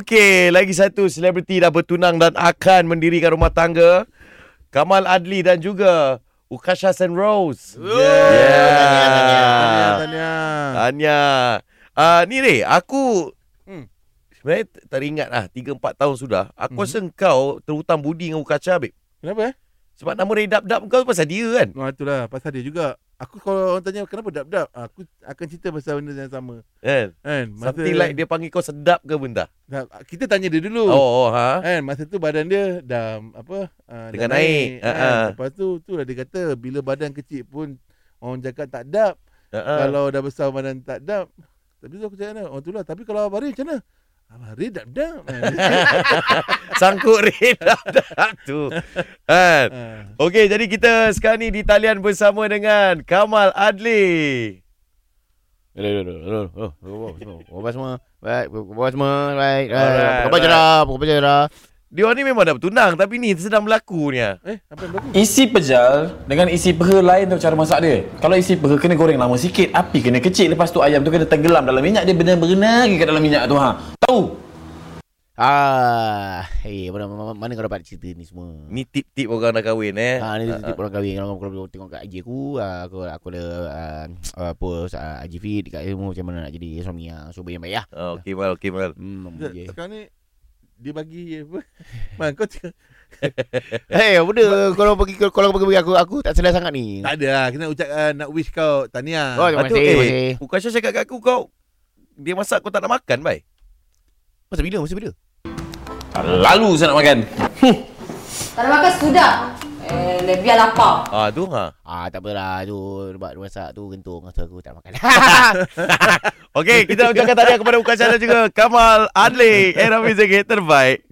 Okey, lagi satu selebriti dah bertunang dan akan mendirikan rumah tangga. Kamal Adli dan juga Ukasha Sen Rose. Yeah. Yeah. Tanya, Tahniah. tanya. Tanya. Ah, ni Rey, aku Hmm. sebenarnya ter- teringat lah 3-4 tahun sudah. Aku Mhm. rasa kau terhutang budi dengan Ukasha, babe. Kenapa eh? Sebab nama Rey Dap-Dap kau pasal dia kan? Nah, Ah, itulah pasal dia juga. Aku kalau orang tanya kenapa dap-dap, Ah, aku akan cerita pasal benda yang sama. Kan? Kan? Something like dia panggil kau sedap ke benda? Nah, kita tanya dia dulu. Oh, oh ha. Kan masa tu badan dia dah apa uh, Tengah dah naik. Kan? Ha, ha. Lepas tu tu lah dia kata bila badan kecil pun orang cakap tak dap. Ha. Kalau dah besar badan tak dap. Tapi tu aku cakap nah, orang tu lah tapi kalau abang Rin macam mana? Abang Rin dap dap. Sangkut Rey Dap-Dap tu. Kan? ah. Okey, jadi kita sekarang ni di talian bersama dengan Kamal Adli. Hello, hello, hello, hello, Oh, hello, hello, Apa semua? Baik, apa semua? Baik, Alright, baik. Apa alright. cerah? Apa cerah? Dia orang ni memang dah bertunang tapi ni sedang berlaku ni. ah. eh apa yang berlaku? Isi pejal dengan isi peha lain tu cara masak dia. Kalau isi peha kena goreng lama sikit, api kena kecil. Lepas tu ayam tu kena tenggelam dalam minyak dia berenang-berenang lagi kat dalam minyak tu ha. Tahu? Ah, hey, mana, mana, mana kau dapat cerita ni semua? Ni tip-tip orang nak kahwin eh. Ha, ni tip orang kahwin kalau kau kau tengok kat IG aku, ah, aku aku ada ah, ah, post ah, IG feed dekat semua macam mana nak jadi suami ah. Cuba yang baik lah. Ah, okey mal, okey mal. Hmm. Sekejap, okey. Sekarang ni dia bagi apa? Man, kau cakap, Hey, benda kalau pergi kalau kau pergi aku aku tak sedar sangat ni. tak ada lah. Kena ucap uh, nak wish kau. Tahniah. Oh, terima Lepas tu, kasih. eh, terima kasih. Ukasha cakap kat aku kau dia masak kau tak nak makan, bai. Masa bila? Masa bila? Lalu saya nak makan. Tak nak makan sudah. Eh, lebih lapar. Ah, tu ha. Ah, tak apalah tu buat masak tu gentung masa aku tak makan. eh, Okey, kita ucapkan tahniah kepada Ukasha dan juga Kamal Adli. Era Music Hit terbaik.